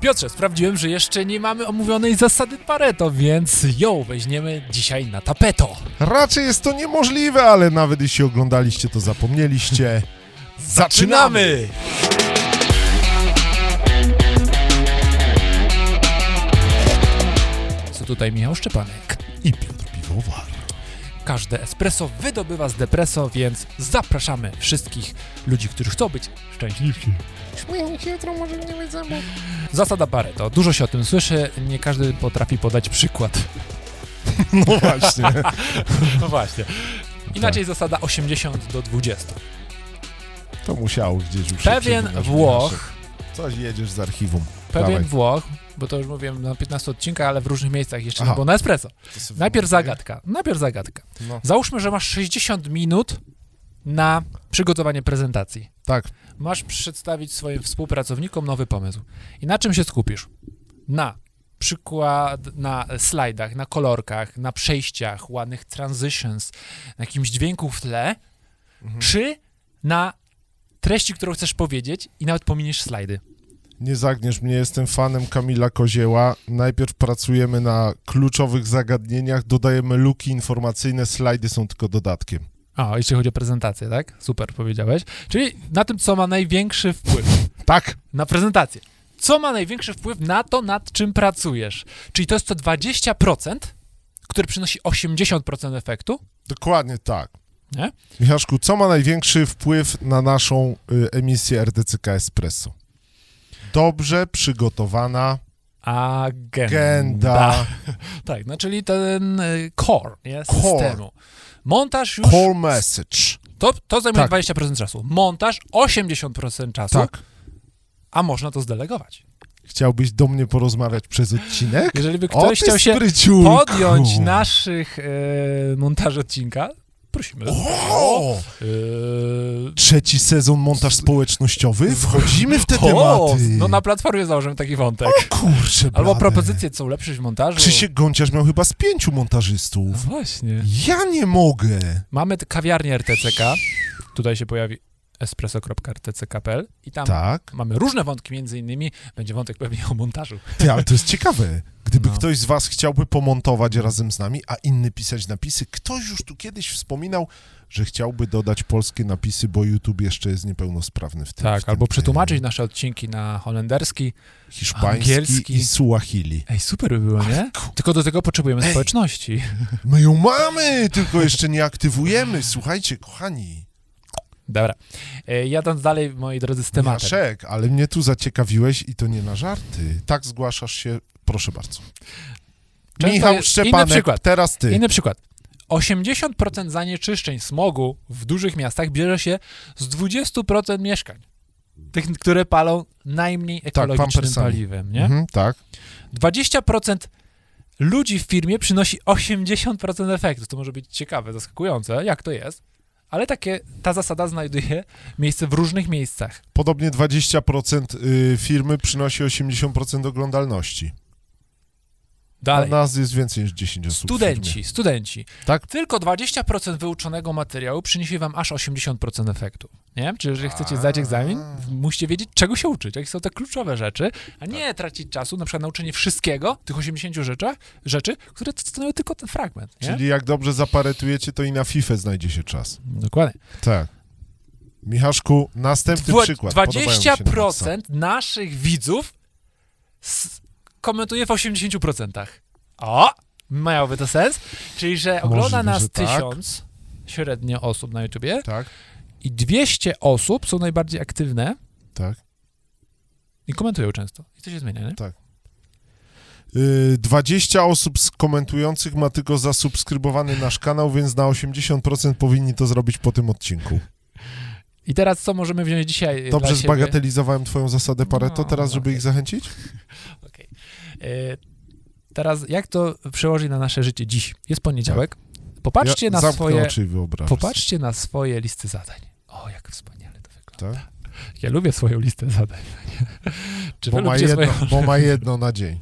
Piotrze, sprawdziłem, że jeszcze nie mamy omówionej zasady Pareto, więc ją weźmiemy dzisiaj na tapeto. Raczej jest to niemożliwe, ale nawet jeśli oglądaliście, to zapomnieliście. Zaczynamy! Co tutaj Michał Szczepanek? I Piotr Piwowar. Każde espresso wydobywa z depreso, więc zapraszamy wszystkich ludzi, którzy chcą być szczęśliwsi. jutro może nie mieć zębów. Zasada Pareto. Dużo się o tym słyszy, nie każdy potrafi podać przykład. No właśnie. No właśnie. Inaczej zasada 80 do 20. To musiało gdzieś już się Pewien przewinąć w Włoch naszych- Coś jedziesz z archiwum. Pewien Dawaj. Włoch, bo to już mówiłem na 15 odcinkach, ale w różnych miejscach jeszcze Aha. nie było na espresso. To sobie Najpierw wyobraź. zagadka. Najpierw zagadka. No. Załóżmy, że masz 60 minut na przygotowanie prezentacji. Tak. Masz przedstawić swoim współpracownikom nowy pomysł. I na czym się skupisz? Na przykład na slajdach, na kolorkach, na przejściach, ładnych transitions, na jakimś dźwięku w tle, Mhm. czy na treści, którą chcesz powiedzieć i nawet pominiesz slajdy. Nie zagniesz mnie, jestem fanem Kamila Kozieła. Najpierw pracujemy na kluczowych zagadnieniach, dodajemy luki informacyjne, slajdy są tylko dodatkiem. A, jeśli chodzi o prezentację, tak? Super powiedziałeś. Czyli na tym, co ma największy wpływ Tak! na prezentację. Co ma największy wpływ na to, nad czym pracujesz? Czyli to jest to 20%, które przynosi 80% efektu. Dokładnie tak. Nie? Michaszku, co ma największy wpływ na naszą y, emisję RDCK Espresso? Dobrze przygotowana Agenda. agenda, Tak, no czyli ten y, core, nie? Core. systemu. Montaż już, core message. to, to zajmuje Tak. 20% czasu. Montaż 80% czasu, Tak. a można to zdelegować. Chciałbyś do mnie porozmawiać przez odcinek? Jeżeli by O, ktoś ty chciał się spryciulku. podjąć naszych y, montaży odcinka, prosimy. E, O! Yy, Trzeci sezon montaż społecznościowy? Wchodzimy w te o, tematy. no na platformie założymy taki wątek. Kurczę, Albo blade. propozycje, co ulepszyć w montażu. Krzysiek Gąciarz miał chyba z pięciu No montażystów. Właśnie. Ja nie mogę. Mamy t- kawiarnię RTCK. Tutaj się pojawi espresso.rtck.pl i tam Tak? mamy różne wątki, między innymi będzie wątek pewnie o montażu. Ty, ale to jest ciekawe. Gdyby No. ktoś z was chciałby pomontować razem z nami, a inny pisać napisy, ktoś już tu kiedyś wspominał, że chciałby dodać polskie napisy, bo YouTube jeszcze jest niepełnosprawny w tym. w Tak, tym, albo tym. przetłumaczyć nasze odcinki na holenderski. hiszpański angielski. i suahili. Ej, super by było, nie? Tylko do tego potrzebujemy społeczności. My ją mamy, tylko jeszcze nie aktywujemy. Słuchajcie, kochani. Dobra. E, Jadąc dalej, moi drodzy, z tematem. Miaszek, ale mnie tu zaciekawiłeś i to nie na żarty. Tak zgłaszasz się, proszę bardzo. Często Michał jest- Szczepanek, inny przykład. teraz ty. Inny przykład. 80% zanieczyszczeń smogu w dużych miastach bierze się z 20% mieszkań. Tych, które palą najmniej ekologicznym pampersami. paliwem, nie? Tak, Mhm, tak. 20% ludzi w firmie przynosi 80% efektu. To może być ciekawe, zaskakujące, jak to jest, ale takie, ta zasada znajduje miejsce w różnych miejscach. Podobnie 20% y, firmy przynosi 80% oglądalności. A Dalej. nas jest więcej niż 10 osób. w firmie. Studenci, studenci. Tak. Tylko 20% wyuczonego materiału przyniesie wam aż 80% efektu. Nie? Czyli jeżeli chcecie zdać egzamin, musicie wiedzieć, czego się uczyć, jakie są te kluczowe rzeczy, a Tak. nie tracić czasu na przykład na uczenie wszystkiego, tych 80 rzeczy, rzeczy które stanowią tylko ten fragment. Nie? Czyli jak dobrze zaparetujecie, to i na FIFA znajdzie się czas. Dokładnie. Tak. Michaszku, następny Dwa- przykład. Podobają mi się 20% naszych widzów s- komentuje w 80%. O! Miałoby to sens? Czyli, że ogląda Możliwe, nas że tak. tysiąc średnio osób na YouTubie Tak, i 200 osób są najbardziej aktywne tak. i komentują często. I to się zmienia, nie? Y, 20 osób z komentujących ma tylko zasubskrybowany nasz kanał, więc na 80% powinni to zrobić po tym odcinku. I teraz co możemy wziąć dzisiaj e, Dobrze dla siebie? zbagatelizowałem twoją zasadę Pareto No, teraz, żeby okej. ich zachęcić? Okej. E, Teraz jak to przełoży na nasze życie dziś? Jest poniedziałek. Popatrzcie Tak. ja na zamknę swoje oczy i wyobraź. Popatrzcie na swoje listy zadań. O, jak wspaniale to wygląda. Tak? Ja lubię swoją listę zadań. Czy Bo wy ma, lubicie jedno, swoją... bo ma jedno na dzień.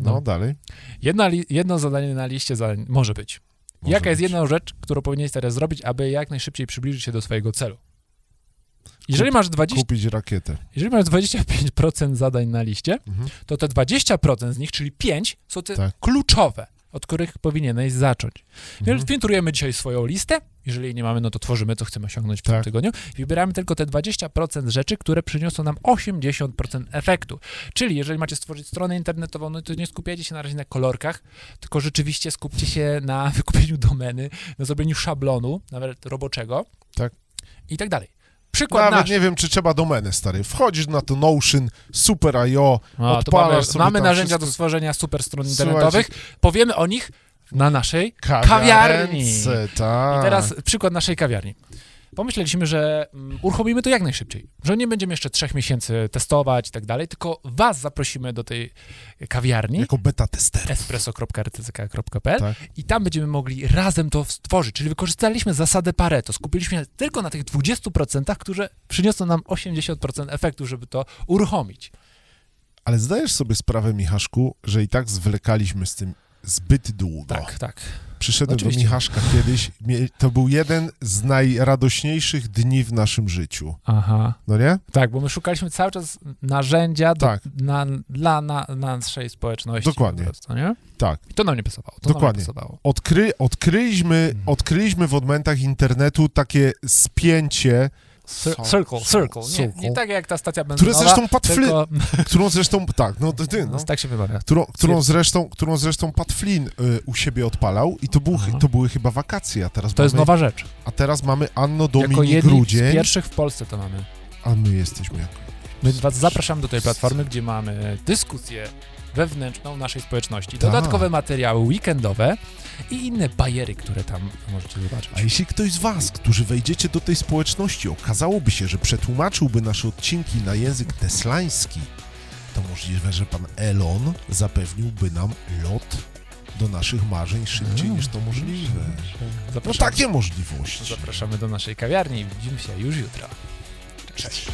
No, No. dalej. Jedna li... Jedno zadanie na liście zadań może być. Może Jaka jest być. jedna rzecz, którą powinieneś teraz zrobić, aby jak najszybciej przybliżyć się do swojego celu? Jeżeli masz 20, kupić rakietę. jeżeli masz 25% zadań na liście, Mhm. to te 20% z nich, czyli 5, są te Tak. kluczowe, od których powinieneś zacząć. Mhm. Więc filtrujemy dzisiaj swoją listę. Jeżeli jej nie mamy, no to tworzymy, co chcemy osiągnąć w tym Tak. tygodniu. Wybieramy tylko te 20% rzeczy, które przyniosą nam 80% efektu. Czyli jeżeli macie stworzyć stronę internetową, no to nie skupiajcie się na razie na kolorkach, tylko rzeczywiście skupcie się na wykupieniu domeny, na zrobieniu szablonu, nawet roboczego. Tak. I tak dalej. Przykład Nawet nasz. nie wiem, czy trzeba domenę, stary. Wchodzisz na to Notion, Super IO, No, to odpalasz mamy, sobie mamy tam narzędzia wszystko. do stworzenia super stron Słuchajcie. internetowych. Powiemy o nich na naszej kawiarni. Kawiarence, tak. I teraz przykład naszej kawiarni. Pomyśleliśmy, że mm, uruchomimy to jak najszybciej, że nie będziemy jeszcze trzech miesięcy testować i tak dalej, tylko was zaprosimy do tej kawiarni Jako beta tester. espresso.rtck.pl Tak. i tam będziemy mogli razem to stworzyć, czyli wykorzystaliśmy zasadę Pareto, skupiliśmy się tylko na tych 20%, które przyniosą nam 80% efektu, żeby to uruchomić. Ale zdajesz sobie sprawę, Michaszku, że i tak zwlekaliśmy z tym zbyt długo. Tak, tak. Przyszedłem Oczywiście. do Michaszka kiedyś. Mie- To był jeden z najradośniejszych dni w naszym życiu. Aha. No nie? Tak, bo my szukaliśmy cały czas narzędzia do, Tak. na, dla na, naszej społeczności. Dokładnie. Po prostu, nie? Tak. I to nam nie pasowało. To Nam nie Dokładnie. pasowało. Odkry, odkryliśmy, Mhm. odkryliśmy w odmętach internetu takie spięcie, Cir- Cir- circle, circle. Nie, circle. nie tak jak ta stacja które benzynowa, zresztą patwlin, tylko... którą zresztą, tak, no ty, no. Tak się wybawia. Którą, którą, zresztą, którą zresztą Pat Flynn y, u siebie odpalał i to, był, Aha. to były chyba wakacje, a teraz, To jest mamy, nowa rzecz. a teraz mamy Anno jako Domini jedni z Grudzień, pierwszych w Polsce to mamy. a my jesteśmy jako... My was zapraszamy do tej platformy, gdzie mamy dyskusję wewnętrzną naszej Tak. społeczności, dodatkowe materiały weekendowe i inne bajery, które tam możecie zobaczyć. A jeśli ktoś z Was, którzy wejdziecie do tej społeczności, okazałoby się, że przetłumaczyłby nasze odcinki na język teslański, to możliwe, że pan Elon zapewniłby nam lot do naszych marzeń Mm. szybciej niż to możliwe. No Zapraszamy, takie możliwości. zapraszamy do naszej kawiarni i widzimy się już jutro. Cześć.